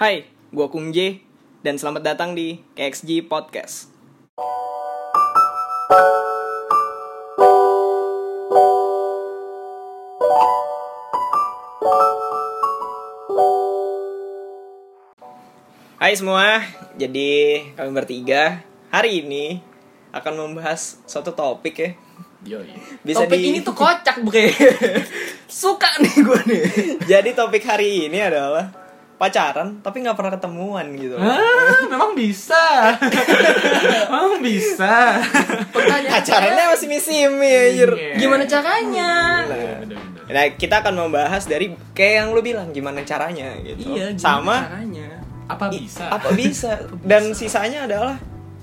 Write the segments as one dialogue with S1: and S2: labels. S1: Hai, gua Kung J dan selamat datang di KXG Podcast. Hai semua, jadi kami bertiga hari ini akan membahas suatu topik ya.
S2: Yoi.
S3: Topik ini tuh kocak bre Suka nih gue nih
S1: Jadi topik hari ini adalah pacaran tapi nggak pernah ketemuan gitu.
S2: Ah, memang bisa. memang bisa.
S3: Pertanyaannya
S1: Pacarannya masih misi-misi anjir.
S2: Iya.
S3: Gimana caranya
S2: Bener-bener.
S1: Nah, kita akan membahas dari kayak yang lu bilang gimana caranya gitu.
S3: Iya gimana
S1: Sama
S3: caranya
S2: Apa
S1: i-
S2: bisa?
S1: apa bisa dan sisanya adalah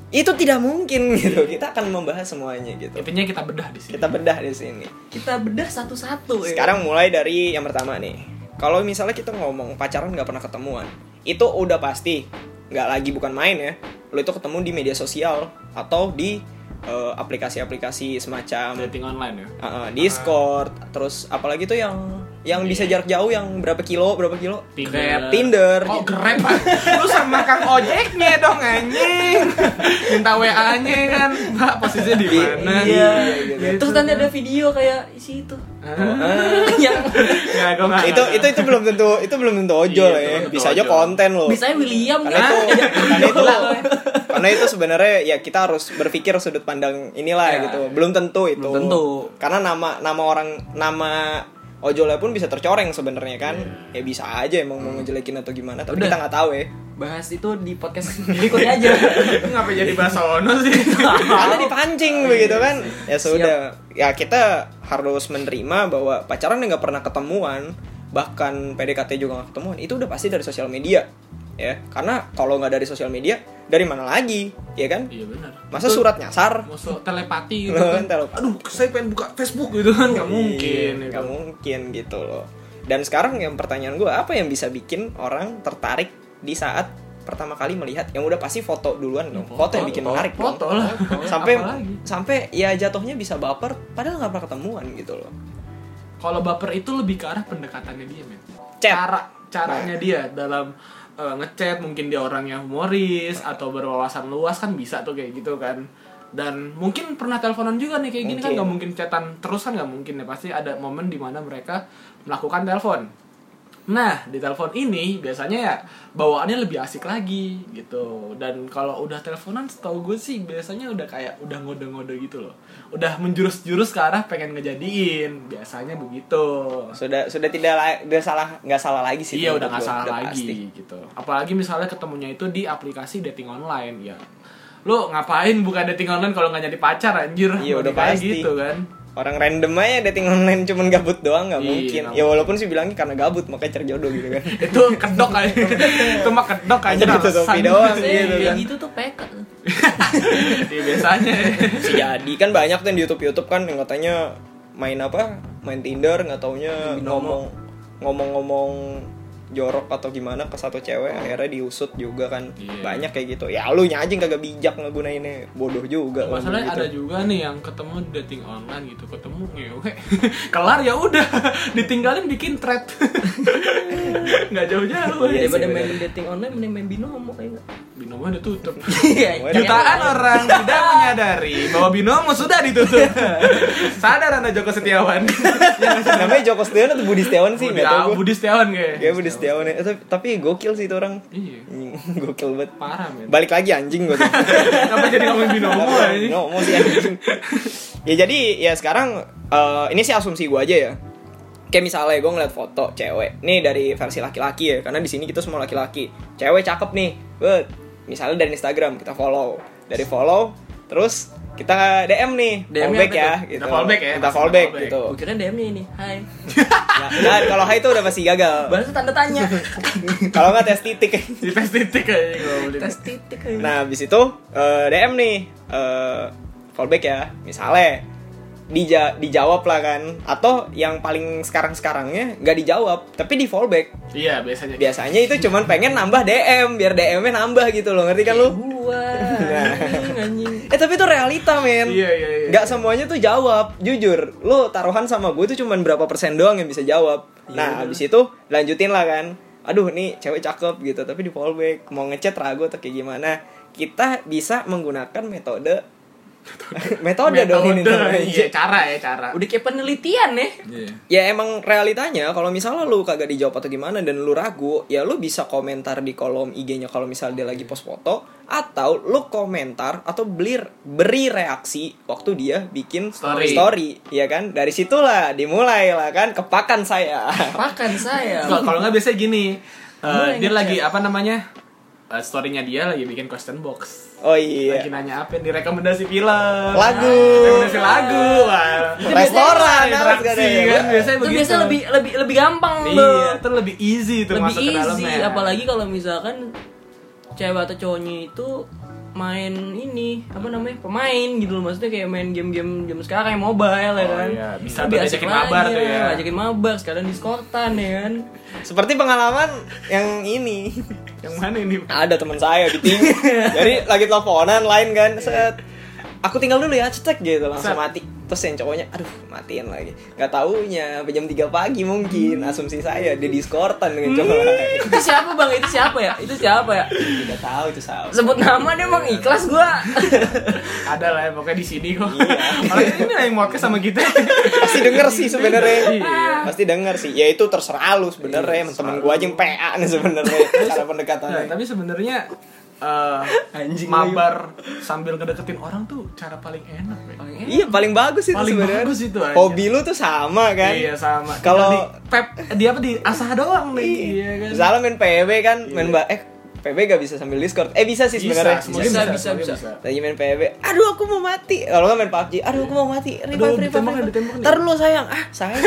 S1: itu tidak mungkin gitu. Kita akan membahas semuanya gitu.
S2: Intinya kita bedah di sini.
S1: Kita bedah di sini.
S3: Kita bedah satu-satu ya.
S1: Sekarang mulai dari yang pertama nih. Kalau misalnya kita ngomong pacaran nggak pernah ketemuan, itu udah pasti nggak lagi bukan main ya. Lo itu ketemu di media sosial atau di eh, aplikasi-aplikasi semacam
S2: dating online ya.
S1: eh, eh, Discord, terus apalagi tuh yang yang bisa
S2: Iya.
S1: jarak jauh yang berapa kilo berapa kilo
S2: Tinder.
S1: Tinder
S2: Oh, grab. Lu sama Kang Ojeknya dong anjing. Minta WA-nya kan. Mbak, posisinya di
S1: Iya,
S2: mana?
S1: iya, iya,
S2: Gitu.
S3: Terus nanti ada video kayak isi itu
S2: Ah,
S3: Yang
S2: nggak, gua nggak-
S1: Ah, itu itu itu belum tentu itu belum tentu ojol
S2: Ah. Iya, itu
S1: ya
S2: belum tentu
S1: bisa aja Iya,
S2: ojol.
S1: konten loh
S3: Bisanya William Iya.
S1: karena
S3: gitu
S1: itu karena itu karena itu sebenarnya ya kita harus berpikir sudut pandang inilah
S2: Ya.
S1: gitu belum tentu itu
S3: Belum tentu.
S1: karena nama nama orang nama ojolnya pun bisa tercoreng sebenarnya kan ya
S2: Iya.
S1: bisa aja emang mau ngejelekin atau gimana tapi
S3: Udah.
S1: kita nggak tahu ya
S3: Bahas itu di podcast berikutnya aja
S2: Lu ngapa jadi bahasa ono sih?
S1: karena dipancing begitu kan ya sudah ya kita harus menerima bahwa pacaran yang nggak pernah ketemuan bahkan PDKT juga nggak ketemuan itu udah pasti dari sosial media ya karena kalau nggak dari sosial media dari mana lagi ya kan
S2: Iya benar.
S1: masa surat nyasar
S2: Musuh telepati gitu
S1: Lo
S2: kan.
S1: kan tau-
S2: Aduh, saya pengen buka Facebook gitu kan. Gak mungkin.
S1: Iya,
S2: gitu.
S1: nggak mungkin gitu loh dan sekarang yang pertanyaan gue apa yang bisa bikin orang tertarik di saat pertama kali melihat yang udah pasti foto duluan dong foto, yang bikin menarik dong.
S2: Foto lah.
S1: sampai
S2: Apalagi?
S1: sampai ya jatuhnya bisa baper padahal nggak pernah ketemuan gitu loh
S2: kalau baper itu lebih ke arah pendekatannya dia men
S1: Chat. Nah.
S2: cara caranya dia dalam eh, ngechat mungkin dia orangnya humoris atau berwawasan luas kan bisa tuh kayak gitu kan dan mungkin pernah teleponan juga nih kayak gini
S1: Mungkin.
S2: kan nggak mungkin chatan terus kan nggak mungkin ya pasti ada momen dimana mereka melakukan telepon nah di telepon ini biasanya ya bawaannya lebih asik lagi gitu dan kalau udah teleponan setahu gue sih biasanya udah kayak udah ngode-ngode gitu loh udah menjurus-jurus ke arah pengen ngejadiin biasanya begitu
S1: sudah sudah tidak la- udah salah nggak salah lagi sih
S2: iya
S1: menurut
S2: udah nggak
S1: gua,
S2: salah
S1: udah
S2: lagi
S1: pasti.
S2: gitu apalagi misalnya ketemunya itu di aplikasi dating online ya lu ngapain buka dating online kalau nggak jadi pacar anjir
S1: Iya,
S2: Bagi
S1: udah
S2: kayak
S1: pasti.
S2: gitu kan
S1: orang random aja dating online cuman gabut doang nggak
S2: Iya,
S1: mungkin
S2: nggak
S1: ya walaupun sih bilangnya karena gabut makanya cari jodoh gitu kan
S2: itu kedok aja itu mah kedok aja
S1: Hanya ditutupi
S2: alasan.
S1: doang
S3: Iya,
S1: gitu
S3: Kayak
S1: kan
S3: gitu tuh peka
S2: Iya, biasanya
S1: Bisa jadi kan banyak tuh yang di YouTube YouTube kan yang katanya main apa main Tinder nggak taunya ngomong ngomong-ngomong jorok atau gimana ke satu cewek akhirnya diusut juga kan
S2: Iya.
S1: banyak kayak gitu ya lu anjing kagak bijak ngegunainnya bodoh juga ngomong
S2: masalahnya
S1: gitu.
S2: ada juga nih yang ketemu di dating online gitu ketemu ngewe kelar ya udah ditinggalin bikin thread nggak jauh-jauh
S1: Iya,
S3: Daripada
S1: sih,
S3: main dating online Mending main binomo kayak
S2: binomo udah tutup
S3: Iya
S2: Jutaan orang tidak menyadari bahwa binomo sudah ditutup. Sadar Anda Joko Setiawan.
S1: namanya Joko Setiawan atau Budi Setiawan sih
S2: Budi,
S1: nggak
S2: ah,
S1: tahu gue
S2: Budi Setiawan kayak.
S1: kayak Budi Setiawan ya Eh, tapi, tapi gokil sih itu orang
S2: Iya.
S1: gokil banget
S2: Parah men.
S1: balik lagi anjing gue
S2: Kenapa jadi ngomongin binomo ya, anjing?
S1: no mau sih anjing ya jadi ya sekarang eh, ini sih asumsi gue aja ya kayak misalnya gue ngeliat foto cewek nih dari versi laki-laki ya karena di sini kita semua laki-laki cewek cakep nih bet misalnya dari Instagram kita follow dari follow terus kita DM nih
S3: DM-nya
S1: fallback ya
S3: apa tuh?
S1: gitu
S2: Kita fallback ya,
S1: kita
S2: masih
S1: fallback
S2: fallback.
S1: gitu
S3: Gue kira DM-nya ini Hai
S1: Ya, dan kalau high itu udah pasti gagal
S3: Baru tuh tanda tanya
S1: kalau nggak tes titik
S2: Di tes titik aja gua beli.
S3: Tes titik aja.
S1: nah habis itu eh, DM nih eh, fallback ya misalnya dija dijawab lah kan atau yang paling sekarang sekarangnya nggak dijawab tapi di fallback
S2: Iya, biasanya.
S1: biasanya itu cuman pengen nambah DM biar DM-nya nambah gitu loh ngerti kan lu
S3: Duluan Anjing anjing
S1: eh tapi itu realita men
S2: Iya, iya, iya.
S1: nggak semuanya tuh jawab jujur
S2: Iya.
S1: lu taruhan sama gue tuh cuman berapa persen doang yang bisa jawab nah habis itu lanjutin lah kan aduh nih cewek cakep gitu tapi di fallback mau ngechat ragu atau kayak gimana kita bisa menggunakan metode metode, dong ini
S2: Metode,
S1: namanya.
S2: iya, cara ya cara.
S3: Udah kayak penelitian ya.
S2: Iya.
S1: Ya emang realitanya kalau misalnya lu kagak dijawab atau gimana dan lu ragu, ya lu bisa komentar di kolom IG-nya kalau misalnya dia lagi post foto atau lu komentar atau beli beri reaksi waktu dia bikin
S2: Story.
S1: story. ya kan? Dari situlah dimulai lah kan kepakan saya.
S3: Makan saya.
S2: Kalau kalau nggak biasanya gini, eh,
S3: Gimana
S2: dia
S3: nih,
S2: lagi
S3: Chan?
S2: apa namanya? eh, story-nya dia lagi bikin question box.
S1: Oh iya.
S2: Lagi nanya apa? Di rekomendasi film.
S1: Lagu.
S2: Rekomendasi lagu. Wah.
S1: Restoran harus gak ada
S2: interaksi
S1: ya.
S2: kan biasanya
S3: Itu
S2: begitu.
S3: biasanya lebih lebih lebih gampang tuh.
S2: Iya, itu lebih easy tuh
S3: lebih
S2: masuk ke ya.
S3: easy.
S2: dalamnya.
S3: Apalagi kalau misalkan cewek atau cowoknya itu main ini apa namanya pemain gitu loh maksudnya kayak main game-game jam sekarang yang mobile ya
S2: Oh,
S3: kan
S2: iya. Bisa
S3: Lebih
S2: tuh
S3: asik
S2: diajakin
S3: lagi
S2: mabar tuh ya.
S3: ngajakin mabar sekalian diskortan ya kan
S1: Seperti pengalaman yang ini.
S2: yang mana ini?
S1: Ada teman saya di tim. Jadi lagi teleponan lain kan, set. Aku tinggal dulu ya, cetek gitu langsung
S2: Iya. Set.
S1: mati. Terus yang cowoknya, aduh matiin lagi. Gak taunya, sampai jam 3 pagi mungkin.
S2: Hmm.
S1: Asumsi saya, dia diskortan dengan cowok lain.
S3: itu siapa bang itu siapa ya itu siapa ya
S1: Tidak tahu itu salah.
S3: sebut nama deh bang ikhlas gua
S2: Ada lah ya, pokoknya di sini kok.
S1: Iya.
S2: Kalau ini lah yang podcast sama kita.
S1: Pasti denger sih sebenarnya.
S2: Iya.
S1: Pasti denger sih. Ya itu terserah lu sebenarnya. Temen gua aja yang PA nih sebenarnya. Cara
S2: Nah,
S1: pendekatannya.
S2: tapi sebenarnya eh,
S1: Anjing
S2: mabar sambil ngedeketin orang tuh cara paling enak. Be.
S3: Oh,
S1: Iya paling bagus itu
S2: Paling
S1: sebenarnya.
S2: bagus itu aja.
S1: Hobi lu tuh sama kan?
S2: Iya sama.
S1: Kalau-
S2: Tinggal di pep dia apa di asah doang nih. Iya kan.
S1: Misalnya main PB kan, main ba eh PB gak bisa sambil Discord. Eh bisa sih sebenarnya.
S2: mungkin
S3: Bisa,
S2: bisa,
S3: bisa,
S2: mungkin
S3: bisa.
S1: Lagi main PB, aduh aku mau mati. Kalau nggak main PUBG, aduh aku mau mati. Revive, revive,
S2: ditembak nih,
S1: revive.
S2: ditembak nih.
S1: Ntar dulu sayang, ah sayang.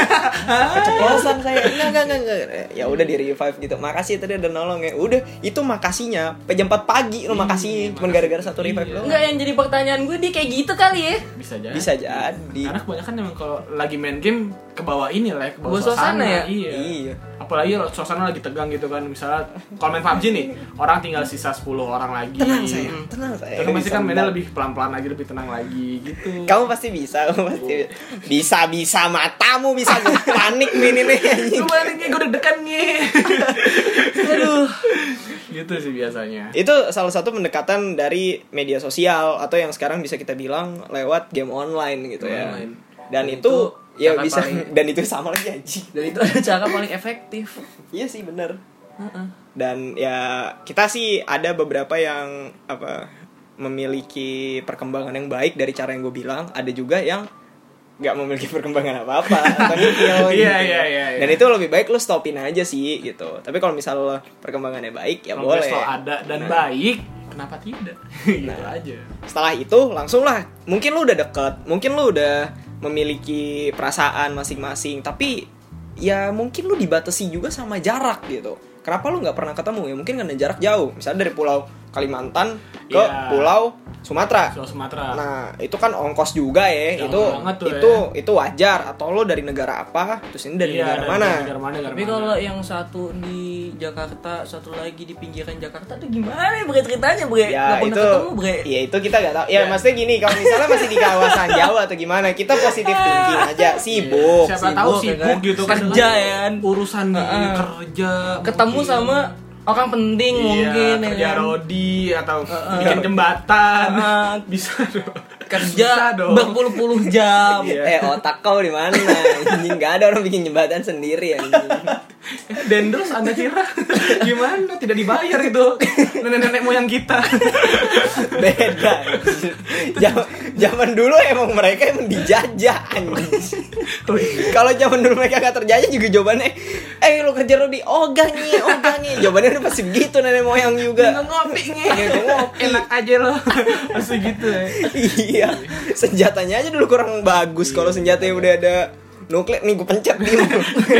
S1: Keceplosan saya. Enggak, enggak, enggak, enggak. Ya udah di revive gitu. Makasih tadi udah nolong ya. Udah, itu makasihnya. Sampai jam 4 pagi
S2: Iya,
S1: lu makasih cuman gara-gara satu revive doang.
S3: Enggak yang jadi pertanyaan gue dia kayak gitu kali ya
S2: Bisa jadi.
S1: Bisa jadi.
S2: Karena kebanyakan emang kalau lagi main game ke bawah ini lah, ya, ke bawah
S3: Bawah suasana ya?
S2: Iya.
S1: Iya.
S2: Apalagi kalau suasana lagi tegang gitu kan, misalnya kalau main PUBG nih, orang tinggal sisa 10 orang lagi. Hmm.
S1: Tenang Eh, sayang, tenang sayang.
S2: Terus pasti kan mainnya lebih pelan-pelan lagi, lebih tenang lagi gitu.
S1: Kamu pasti bisa, kamu
S2: Oh.
S1: pasti bisa. bisa bisa matamu bisa Gua panik nih ini nih. anjing.
S2: Gue balik nih, gue deg-degan nih.
S3: aduh
S2: gitu sih biasanya.
S1: Itu salah satu pendekatan dari media sosial atau yang sekarang bisa kita bilang lewat game online gitu ya.
S2: Online.
S1: Dan
S3: Dan
S1: itu
S3: itu
S1: ya
S3: cara
S1: bisa
S3: paling-
S1: dan itu sama lagi anjing.
S3: dan itu ada cara paling efektif
S1: Iya sih bener
S3: Heeh.
S1: Dan ya kita sih ada beberapa yang apa memiliki perkembangan yang baik dari cara yang gue bilang, ada juga yang nggak memiliki perkembangan apa-apa atau nihil gitu.
S2: Iya, iya, iya, iya.
S1: Dan itu lebih baik lu stopin aja sih gitu. Tapi kalau misalnya perkembangannya baik ya
S2: Kalau
S1: boleh.
S2: besok ada
S1: Nah.
S2: dan baik, kenapa tidak? gitu aja.
S1: setelah itu langsunglah mungkin lu udah deket mungkin lu udah memiliki perasaan masing-masing tapi ya mungkin lu dibatasi juga sama jarak gitu kenapa lu nggak pernah ketemu ya mungkin karena jarak jauh misalnya dari pulau Kalimantan ke
S2: Iya.
S1: pulau Sumatera
S2: Soal Sumatera.
S1: nah itu kan ongkos juga ya
S2: Jauh
S1: itu
S2: banget tuh ya.
S1: itu itu wajar atau lo dari negara apa terus ini dari
S2: Iya,
S1: negara mana
S2: Negara mana? negara
S3: Tapi
S2: mana.
S3: kalau yang satu di Jakarta, satu lagi di pinggiran Jakarta tuh gimana ya bre ceritanya bre? Nggak
S1: ya
S3: pernah
S1: itu
S3: ketemu bre.
S2: iya,
S1: ya itu kita nggak tahu ya maksudnya gini kalau misalnya masih di kawasan Jawa atau gimana kita positif thinking aja sibuk
S2: siapa tahu
S3: Iya. sibuk, ya
S2: sibuk
S3: kan?
S2: gitu kan
S3: Kerja, ya kan?
S2: urusan nih,
S3: Heeh.
S2: kerja
S3: Ketemu
S2: mungkin.
S3: sama orang penting
S2: Iya,
S3: mungkin ya
S2: kerja
S3: kan?
S2: rodi atau bikin jembatan
S3: Heeh.
S2: bisa dong Bisa
S3: Kerja
S2: dong.
S3: berpuluh-puluh jam.
S2: Iya.
S1: eh otak kau di mana anjing nggak ada orang bikin jembatan sendiri anjing
S2: dan terus anda kira gimana tidak dibayar itu nenek-nenek moyang kita
S1: beda anjing. Zaman, zaman dulu emang mereka emang dijajah anjing kalau zaman dulu mereka nggak terjajah juga jawabannya eh lo kerja lo di ogah nih ogah nih jawabannya udah pasti begitu nenek moyang
S2: nggak
S1: juga
S2: ngopi nih
S1: Iya, nggak ngopi.
S2: enak aja loh masih gitu ya
S1: iya senjatanya aja dulu kurang bagus
S2: Iya,
S1: kalau senjatanya udah ada nuklir nih gue pencet diem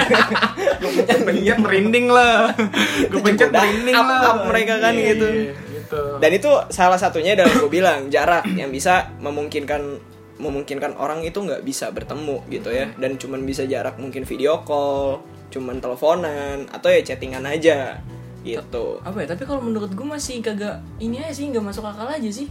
S2: gue pencet pencet merinding lah gue pencet
S1: Udah,
S2: merinding
S1: up-
S2: lah
S1: up mereka kan
S2: Iya,
S1: gitu.
S2: gitu.
S1: dan itu salah satunya dari gue bilang jarak yang bisa memungkinkan memungkinkan orang itu nggak bisa bertemu gitu ya
S2: Iya.
S1: dan cuman bisa jarak mungkin video call cuman teleponan atau ya chattingan aja gitu
S3: Apa ya? Tapi kalau menurut gue masih kagak ini aja sih nggak masuk akal aja sih.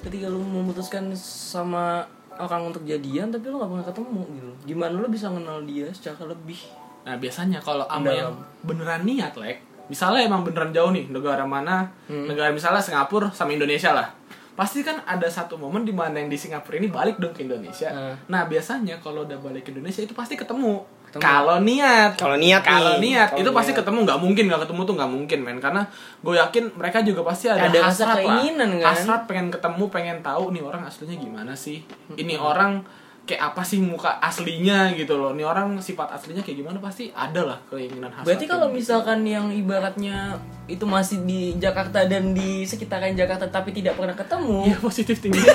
S3: Ketika lu memutuskan sama orang untuk jadian tapi lu nggak pernah ketemu gitu. Gimana lu bisa kenal dia secara lebih?
S2: Nah biasanya kalau ama yang
S3: Dalam.
S2: beneran niat lek misalnya emang beneran jauh nih negara mana
S3: Hmm.
S2: negara misalnya Singapura sama Indonesia lah pasti kan ada satu momen di mana yang di Singapura ini balik dong ke Indonesia
S3: Hmm.
S2: nah biasanya kalau udah balik ke Indonesia itu pasti ketemu kalau niat
S1: Kalau niat
S2: kalau
S1: nih.
S2: niat
S1: Kalau
S2: itu pasti
S1: niat.
S2: ketemu nggak mungkin nggak ketemu tuh nggak mungkin men karena gue yakin mereka juga pasti ada,
S3: Ada rasa
S2: hasrat lah.
S3: keinginan, kan?
S2: hasrat pengen ketemu pengen tahu nih orang aslinya gimana sih ini orang kayak apa sih muka aslinya gitu loh ini orang sifat aslinya kayak gimana pasti ada lah keinginan hasrat
S3: Berarti kalau
S2: kayak gitu.
S3: misalkan yang ibaratnya itu masih di Jakarta dan di sekitaran Jakarta tapi tidak pernah ketemu,
S2: Iya positif tinggi ya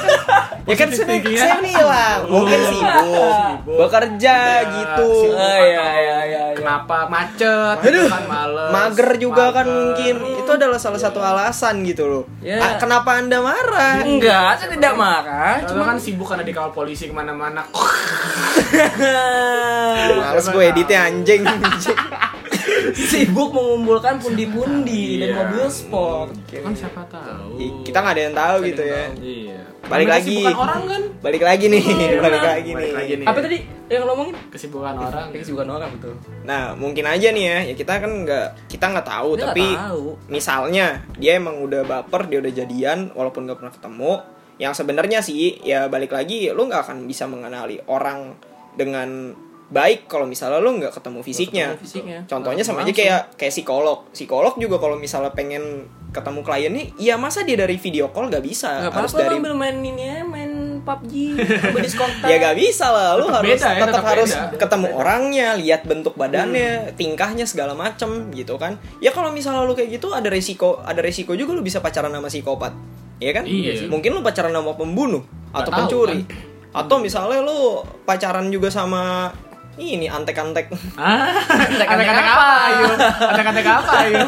S1: ya kan saya, saya bilang mungkin sibuk
S2: Oh, Sibuk.
S1: bekerja
S2: Ya,
S1: gitu
S2: sibuk
S3: Ah,
S2: atau
S3: iya, iya, iya, iya.
S2: kenapa macet
S1: Aduh,
S2: kan males
S1: mager juga kan
S2: mager. Iya.
S1: mungkin itu adalah salah satu alasan gitu loh
S3: Ya.
S1: Ah, kenapa anda marah
S3: enggak, saya tidak marah.
S2: Kalau
S3: Cuma
S2: kan sibuk karena dikawal polisi kemana-mana
S1: males gue editnya anjing anjing.
S3: sibuk mengumpulkan pundi-pundi dan
S2: Iya.
S3: mobil sport.
S2: kan siapa tahu
S1: Ih, kita nggak ada yang tahu gitu ya
S2: Iya.
S1: Balik
S2: Namanya
S1: lagi.
S2: Kesibukan orang kan.
S1: balik lagi nih balik
S3: benar.
S1: lagi
S2: Balik lagi
S1: nih
S2: nih.
S3: Apa tadi yang lo ngomongin?
S2: Iya. Kesibukan kan, orang.
S3: Kayak bukan orang betul.
S1: nah mungkin aja nih ya ya kita kan nggak kita nggak tahu
S3: Kita nggak
S1: tapi
S3: tahu.
S1: misalnya dia emang udah baper dia udah jadian walaupun nggak pernah ketemu yang sebenarnya sih ya balik lagi lu nggak akan bisa mengenali orang dengan baik kalau misalnya lu nggak ketemu fisiknya,
S3: ketemu fisiknya. Nah,
S1: contohnya sama aja
S3: Langsung.
S1: kayak kayak psikolog psikolog juga kalau misalnya pengen ketemu kliennya iya masa dia dari video call nggak bisa
S3: Enggak
S1: harus
S3: apa-apa
S1: dari
S3: lo ambil main ini ya, main PUBG, diskon.
S2: Iya,
S1: ya gak bisa lah lu
S2: Tetap
S1: harus
S2: beda ya,
S1: tetap,
S2: tetap
S1: harus
S2: beda. Hmm.
S1: ketemu orangnya lihat bentuk badannya tingkahnya segala macem gitu kan ya kalau misalnya lu kayak gitu ada resiko ada resiko juga lu bisa pacaran sama psikopat ya kan
S2: Iya sih.
S1: mungkin lu pacaran sama pembunuh atau
S2: tahu, kan.
S1: pencuri atau misalnya lu pacaran juga sama ini antek-antek
S2: Ah,
S3: Kata-kata
S2: kata-kata apa ayo? Kata-kata apa ayo?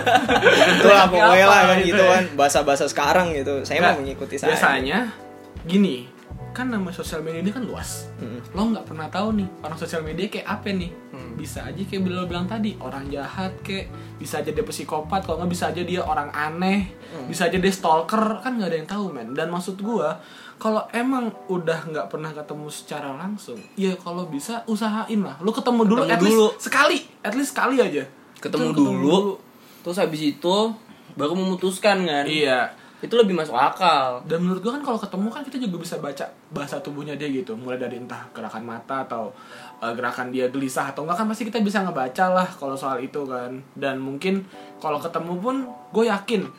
S1: itulah pokoknya lah kan
S2: Gitu
S1: gitu
S2: ya.
S1: kan bahasa-bahasa sekarang gitu saya
S2: Nggak,
S1: mau mengikuti saya
S2: Nah, Biasanya gini, kan nama sosial media ini kan luas. Lo nggak pernah tahu nih orang sosial media kayak apa nih. Bisa aja kayak lo bilang tadi orang jahat kayak bisa aja dia psikopat, kalau nggak bisa aja dia orang aneh,
S1: Mm.
S2: bisa aja dia stalker kan nggak ada yang tahu men. Dan maksud gua kalau emang udah nggak pernah ketemu secara langsung, ya kalau bisa usahain lah. Lo ketemu dulu,
S3: Ketemu
S2: at least
S3: dulu.
S2: sekali, at least sekali aja.
S3: Ketemu
S2: Itu
S3: dulu. Terus habis itu baru memutuskan kan.
S2: Iya,
S3: Itu lebih masuk akal.
S2: dan menurut gua kan kalau ketemu kan kita juga bisa baca bahasa tubuhnya dia gitu mulai dari entah gerakan mata atau uh, gerakan dia gelisah atau enggak kan pasti kita bisa ngebaca lah kalau soal itu kan dan mungkin kalau ketemu pun gue yakin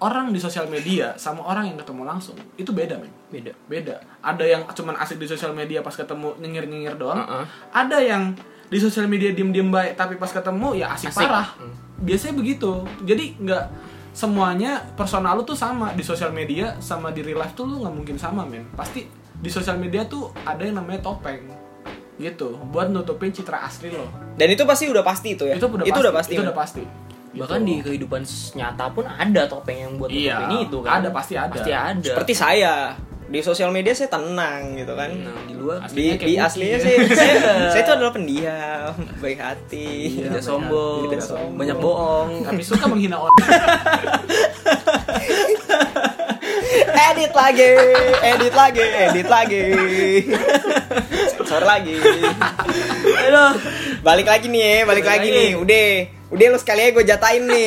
S2: orang di sosial media sama orang yang ketemu langsung itu beda men
S3: Beda.
S2: beda ada yang cuman asik di sosial media pas ketemu nyengir nyengir doang
S3: Uh-uh.
S2: ada yang di sosial media diem diem baik tapi pas ketemu ya asik,
S3: Asik.
S2: parah biasanya begitu jadi nggak semuanya personal lu tuh sama di sosial media sama di real life tuh lu nggak mungkin sama men pasti di sosial media tuh ada yang namanya topeng gitu buat nutupin citra asli lo
S1: dan itu pasti udah pasti itu ya
S2: itu udah
S1: pasti,
S2: itu udah pasti Gitu.
S3: Bahkan di kehidupan nyata pun ada topeng yang buat
S2: Iya,
S3: nutupin itu kan.
S2: ada, pasti ada.
S3: Pasti ada.
S1: seperti saya di sosial media saya tenang gitu kan
S3: Nah, di luar
S1: di,
S2: Aslinya kayak
S1: di
S2: Buki,
S1: aslinya
S2: ya.
S1: sih saya, saya itu adalah pendiam baik hati
S3: tidak
S2: banyak-
S3: sombong,
S1: tidak sombong.
S3: banyak bohong.
S2: tapi suka menghina orang
S1: edit lagi edit lagi edit lagi sensor lagi
S3: Aduh.
S1: balik lagi nih ya, balik
S3: Balik
S1: lagi
S3: lagi.
S1: nih udah udah lu sekali aja gue jatain nih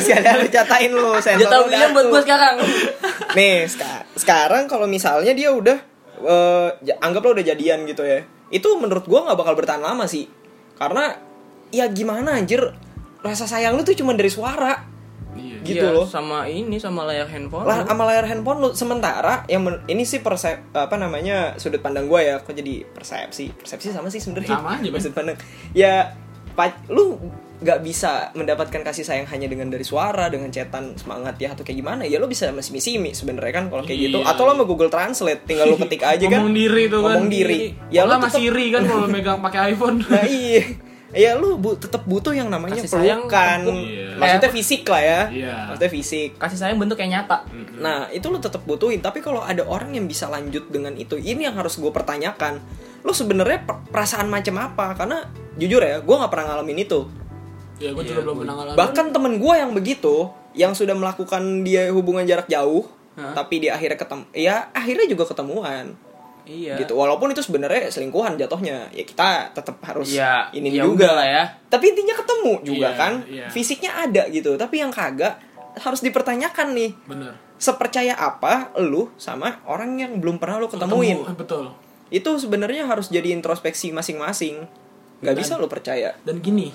S1: sekali aja lu jatain lu sensor
S3: Dia tahu
S1: lu
S3: William buat
S1: datu.
S3: gue sekarang.
S1: Nih, seka- sekarang kalau misalnya dia udah eh, ja- anggaplah udah jadian gitu ya. Itu menurut gua nggak bakal bertahan lama sih. Karena ya gimana anjir rasa sayang lu tuh cuma dari suara.
S2: Iya.
S1: Gitu
S3: Iya,
S1: loh.
S3: Sama ini sama layar
S2: Oh.
S3: handphone.
S1: Lah sama layar handphone lu sementara yang men- ini sih persep apa namanya sudut pandang gua ya. Kok jadi persepsi? Persepsi sama sih sebenarnya.
S2: Sama aja, Bang.
S1: sudut pandang. Ya pa- lu nggak bisa mendapatkan kasih sayang hanya dengan dari suara, dengan cetan semangat ya atau kayak gimana? Ya lu bisa misi-misi sebenarnya kan kalau kayak gitu.
S2: Iya.
S1: Atau lo sama Google Translate tinggal lu ketik aja kan.
S2: ngomong diri tuh kan
S1: Ngomong diri.
S2: ya
S1: lu
S2: lah
S1: tetep-
S2: masih iri kan kalau megang pakai iPhone
S1: Nah, iya. Ya lu bu, tetap butuh yang namanya
S3: Kasih sayang,
S1: pelukan.
S3: peluk.
S2: Iya.
S1: Maksudnya fisik lah ya.
S2: Iya.
S1: Maksudnya fisik.
S3: Kasih sayang bentuk yang nyata.
S1: Nah, itu lo tetap butuhin, tapi kalau ada orang yang bisa lanjut dengan itu, ini yang harus gue pertanyakan. Lo sebenarnya per- perasaan macam apa? Karena jujur ya, gue nggak pernah ngalamin itu.
S2: ya gue juga belum pernah ngalamin
S1: Bahkan temen gue yang begitu, yang sudah melakukan dia hubungan jarak jauh, tapi di akhirnya ketemu, ya akhirnya juga ketemuan.
S3: Iya.
S1: gitu walaupun itu sebenarnya selingkuhan jatuhnya ya kita tetap harus
S3: Iya,
S1: ini
S3: ya
S1: juga
S3: udah Ya, lah ya.
S1: tapi intinya ketemu juga
S2: Iya,
S1: kan
S2: iya.
S1: fisiknya ada gitu tapi yang kagak harus dipertanyakan nih
S2: bener
S1: sepercaya apa lu sama orang yang belum pernah lu ketemuin
S2: Ketemu, betul
S1: itu sebenarnya harus jadi introspeksi masing-masing nggak
S2: Dan-
S1: bisa lu percaya
S2: dan gini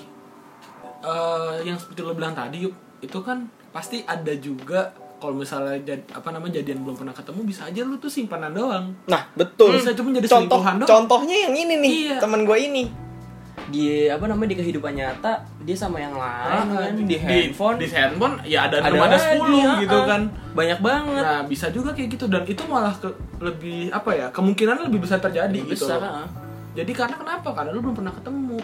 S2: eh, yang seperti lo bilang tadi Yup, itu kan pasti ada juga kalau misalnya jad- apa namanya jadian belum pernah ketemu bisa aja lu tuh simpanan doang
S1: nah betul
S2: Bisa cuma Hmm, jadi
S1: contoh
S2: selingkuhan doang.
S1: contohnya yang ini nih
S2: Iya.
S1: teman gue ini
S3: Dia apa namanya di kehidupan nyata dia sama yang
S1: Ah,
S3: lain kan di, handphone.
S2: Iya di, handphone ya ada
S3: ada
S2: enam ada
S3: lagi,
S2: sepuluh
S1: iya.
S3: ha-ha.
S2: gitu kan
S3: Banyak banget.
S2: nah bisa juga kayak gitu dan itu malah ke, lebih apa ya kemungkinan lebih besar terjadi
S3: Lebih
S2: gitu
S3: besar,
S2: loh.
S3: ha.
S2: jadi karena kenapa karena lu belum pernah ketemu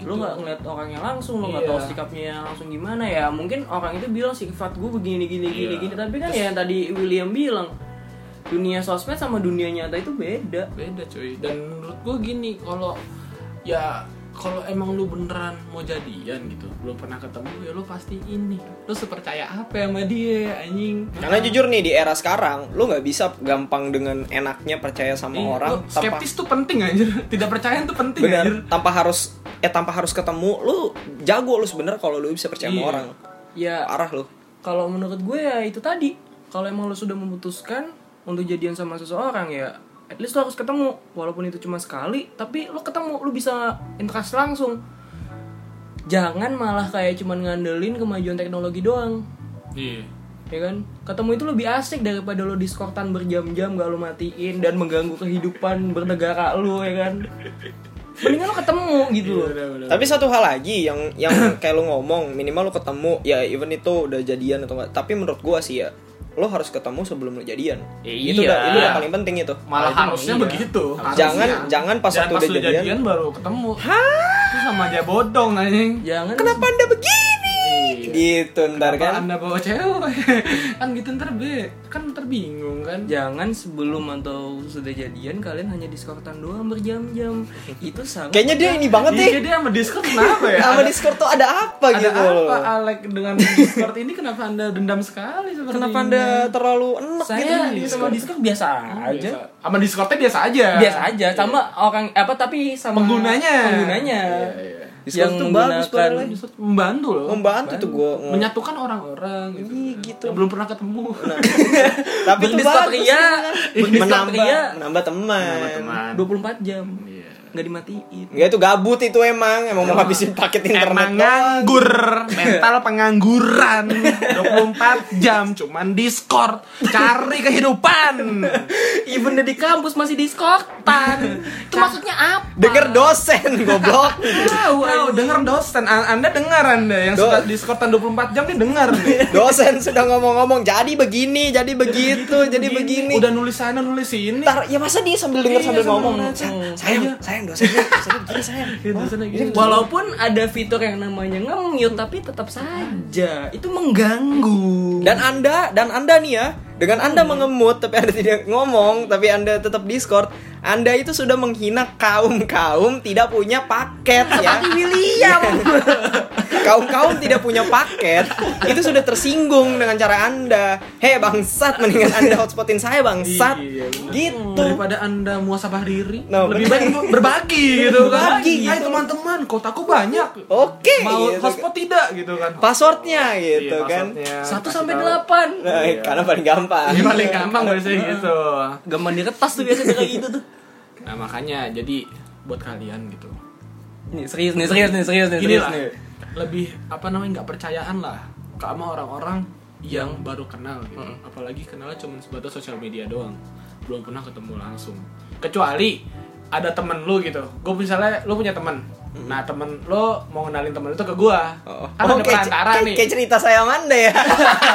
S2: gitu.
S3: lu nggak ngeliat orangnya langsung lu nggak
S2: Iya.
S3: tahu sikapnya langsung gimana ya mungkin orang itu bilang sifat gue begini gini gini
S2: Iya.
S3: gini tapi kan ya yang tadi William bilang dunia sosmed sama dunia nyata itu beda
S2: beda cuy dan menurut gue gini kalau ya kalau emang lu beneran mau jadian gitu belum pernah ketemu ya lu pasti ini lu sepercaya apa sama dia anjing
S1: karena jujur nih di era sekarang lu nggak bisa gampang dengan enaknya percaya sama
S2: Iya,
S1: orang
S2: lu skeptis tuh penting anjir tidak percaya tuh penting
S1: benar
S2: anjir
S1: tanpa harus eh tanpa harus ketemu lu jago lu sebenarnya kalau lu bisa percaya sama
S2: Iya.
S1: orang
S3: ya
S1: arah lu
S3: kalau menurut gue ya itu tadi kalau emang lu sudah memutuskan untuk jadian sama seseorang ya at least lu harus ketemu walaupun itu cuma sekali tapi lu ketemu lu bisa interaksi langsung jangan malah kayak cuman ngandelin kemajuan teknologi doang
S2: iya
S3: ya kan ketemu itu lebih asik daripada lo diskortan berjam-jam gak lo matiin dan mengganggu kehidupan bernegara lo ya kan mendingan lo ketemu gitu loh
S1: Tapi satu hal lagi yang yang kayak lu ngomong minimal lu ketemu ya even itu udah jadian atau enggak. Tapi menurut gua sih ya lo harus ketemu sebelum lu jadian.
S3: Iya.
S1: Itu udah itu udah paling penting itu.
S2: malah harusnya
S3: Harusnya iya.
S2: begitu
S1: Jangan jangan pas
S2: Jangan
S1: waktu udah
S2: lu
S1: jadian.
S2: baru ketemu itu sama aja bodong anjing
S1: Iya,
S3: jangan
S1: Kenapa Anda begini? Gitu ntar
S2: Iya. Kenapa
S1: kan.
S2: anda bawa cewek kan gitu ntar be kan ntar bingung kan
S3: jangan sebelum atau sudah jadian kalian hanya diskortan doang berjam-jam itu sangat
S1: Kayaknya dia ini banget nih.
S2: Iya, dia sama Discord kenapa ya?
S1: Sama
S2: Ada-
S1: Discord tuh ada apa
S2: ada
S1: gitu loh.
S2: apa Alek dengan Discord ini kenapa anda dendam sekali seperti
S1: Kenapa
S2: ini?
S1: Anda terlalu enak gitu di
S3: saya sama
S1: Discord?
S3: discord biasa aja
S2: Biasa. Sama Discordnya biasa aja. Iya,
S3: biasa aja sama orang apa tapi sama
S2: Penggunanya.
S3: penggunanya
S2: Iya, iya.
S1: Discord tuh bagus
S3: menggunakan-
S1: padahal.
S2: Discord membantu loh.
S1: Membantu tuh gua. nge-
S2: Menyatukan orang-orang gitu.
S1: Iya, gitu. Nah,
S2: Yang belum pernah ketemu.
S1: Tapi tuh
S3: Berdiscord
S1: bagus
S3: ria,
S1: sih, kan?
S3: berdiscord
S1: menambah
S3: ria.
S1: menambah teman.
S2: Teman.
S3: 24 jam
S2: Iya.
S3: nggak dimatiin
S1: Enggak itu gabut itu emang, emang mau habisin paket internet.
S2: Emang kan?
S1: doang.
S2: nganggur, mental pengangguran 24 jam cuman Discord Cari kehidupan
S3: Even di kampus masih diskortan. Itu
S2: Kan.
S3: maksudnya apa?
S1: Denger dosen goblok.
S2: Tahu, tahu, denger dosen An- Anda dengar Anda yang
S1: Do-
S2: suka Discordan 24 jam nih dengar nih.
S1: dosen sudah ngomong-ngomong jadi begini, jadi begitu, jadi begini.
S2: Udah nulis sana nulis sini.
S1: Ntar ya masa dia sambil denger
S2: Iya,
S1: sambil
S2: sambil
S1: ngomong.
S2: ngomong.
S1: Sa-
S2: Hmm.
S1: Sayang, sayang dosennya, dosennya begini sayang.
S2: Gitu, sana gitu.
S3: Walaupun ada fitur yang namanya nge-mute tapi tetap
S1: Ah.
S2: Iya.
S3: saja itu mengganggu.
S1: Dan Anda, dan Anda nih ya, dengan Anda mengemut tapi Anda tidak ngomong, tapi Anda tetap Discord, Anda itu sudah menghina kaum-kaum tidak punya paket ya. Iya.
S3: Seperti William.
S1: kaum-kaum tidak punya paket itu sudah tersinggung dengan cara anda hei bangsat mendingan anda hotspotin saya bangsat
S2: Iya, bener.
S1: gitu
S2: daripada anda muasabah diri
S1: Nah,
S2: lebih
S1: bener.
S2: baik berbagi gitu kan
S1: Berbagi,
S2: Hai
S1: gitu.
S2: teman-teman kotaku banyak
S1: Oke,
S2: mau
S1: gitu.
S2: hotspot tidak gitu kan
S1: passwordnya gitu
S2: Iya,
S1: kan
S2: passwordnya.
S3: 1
S2: Kasih
S3: sampai
S2: tahu.
S3: 8.
S1: Nah, karena paling gampang
S2: ini Iya, paling gampang biasanya gitu
S3: Gampang di kertas tuh biasanya kayak gitu tuh.
S2: nah makanya jadi buat kalian gitu
S3: Nih serius nih, serius nih, serius nih, serius
S2: inilah
S3: nih.
S2: lebih apa namanya nggak percayaan lah sama orang-orang yang baru kenal gitu. apalagi kenalnya cuma sebatas sosial media doang belum pernah ketemu langsung kecuali ada temen lu gitu gue misalnya lu punya temen nah temen lu mau kenalin temen itu ke gue
S1: Oh, Oh,
S2: kan ada
S1: kayak,
S2: perantara
S1: kayak-
S2: nih
S1: kayak cerita saya sama anda ya.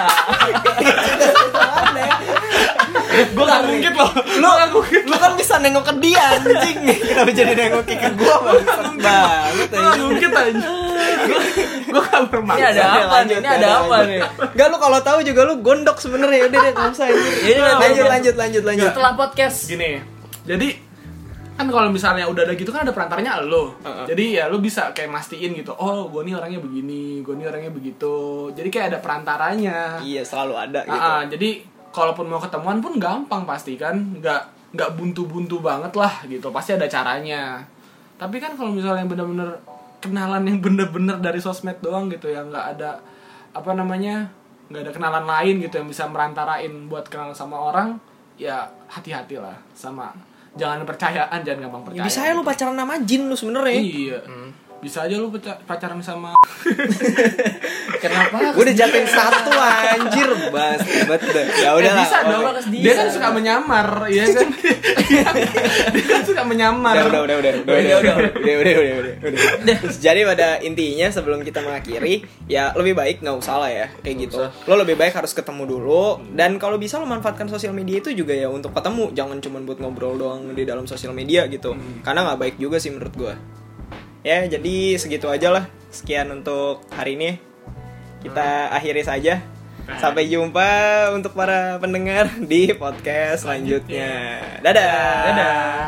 S1: Kayak cerita saya sama Anda ya.
S2: gue gak mungkin loh
S1: Lu, lu kan bisa nengok ke dia anjing. Kenapa jadi nengok ke gua bangsat banget.
S2: gue gak mungkin aja gue gak
S3: Ini
S2: bermaksud
S3: Iya, ada
S1: Lanjut,
S3: apa nih? Ini
S1: lanjut,
S3: ada apa
S1: lanjut.
S3: nih?
S1: Enggak lu kalau tahu juga lu gondok sebenarnya. Udah deh, enggak usah anjing.
S2: Iya,
S3: Ini nanti-
S1: Lanjut lanjut lanjut lanjut.
S3: Setelah podcast.
S2: gini jadi kan kalau misalnya udah ada gitu kan ada perantaranya lo
S1: Heeh.
S2: jadi ya lo bisa kayak mastiin gitu oh gue nih orangnya begini gue nih orangnya begitu jadi kayak ada perantaranya
S1: Iya, selalu ada gitu.
S2: Ah, ah, jadi kalaupun mau ketemuan pun gampang pasti kan nggak nggak buntu-buntu banget lah gitu pasti ada caranya tapi kan kalau misalnya yang bener-bener kenalan yang bener-bener dari sosmed doang gitu ya nggak ada apa namanya nggak ada kenalan lain gitu yang bisa merantarain buat kenalan sama orang ya hati-hatilah sama jangan percayaan jangan gampang percaya gitu.
S1: Ya, bisa ya lu pacaran ya. sama jin lu sebenernya.
S2: iya bisa aja lu paca- pacaran sama
S3: Kenapa?
S1: Gue udah jatuhin satu anjir, bas ribet dah. Ya udah lah.
S3: Eh, bisa
S1: oke.
S3: dong, harus
S2: dia kan
S3: bisa.
S2: suka menyamar ya kan dia kan suka menyamar
S1: iya Udah, udah, udah, udah, udah, udah, udah, udah, udah, udah, udah, udah. Jadi pada intinya sebelum kita mengakhiri, ya lebih baik nggak usah lah ya, kayak gitu. Lo lebih baik harus ketemu dulu, dan kalau bisa lo manfaatkan sosial media itu juga ya untuk ketemu, jangan cuma buat ngobrol doang di dalam sosial media gitu, karena nggak baik juga sih menurut gua. Ya, jadi segitu aja lah. Sekian untuk hari ini. Kita akhiri saja. Sampai jumpa untuk para pendengar di podcast selanjutnya. Dadah.
S2: dadah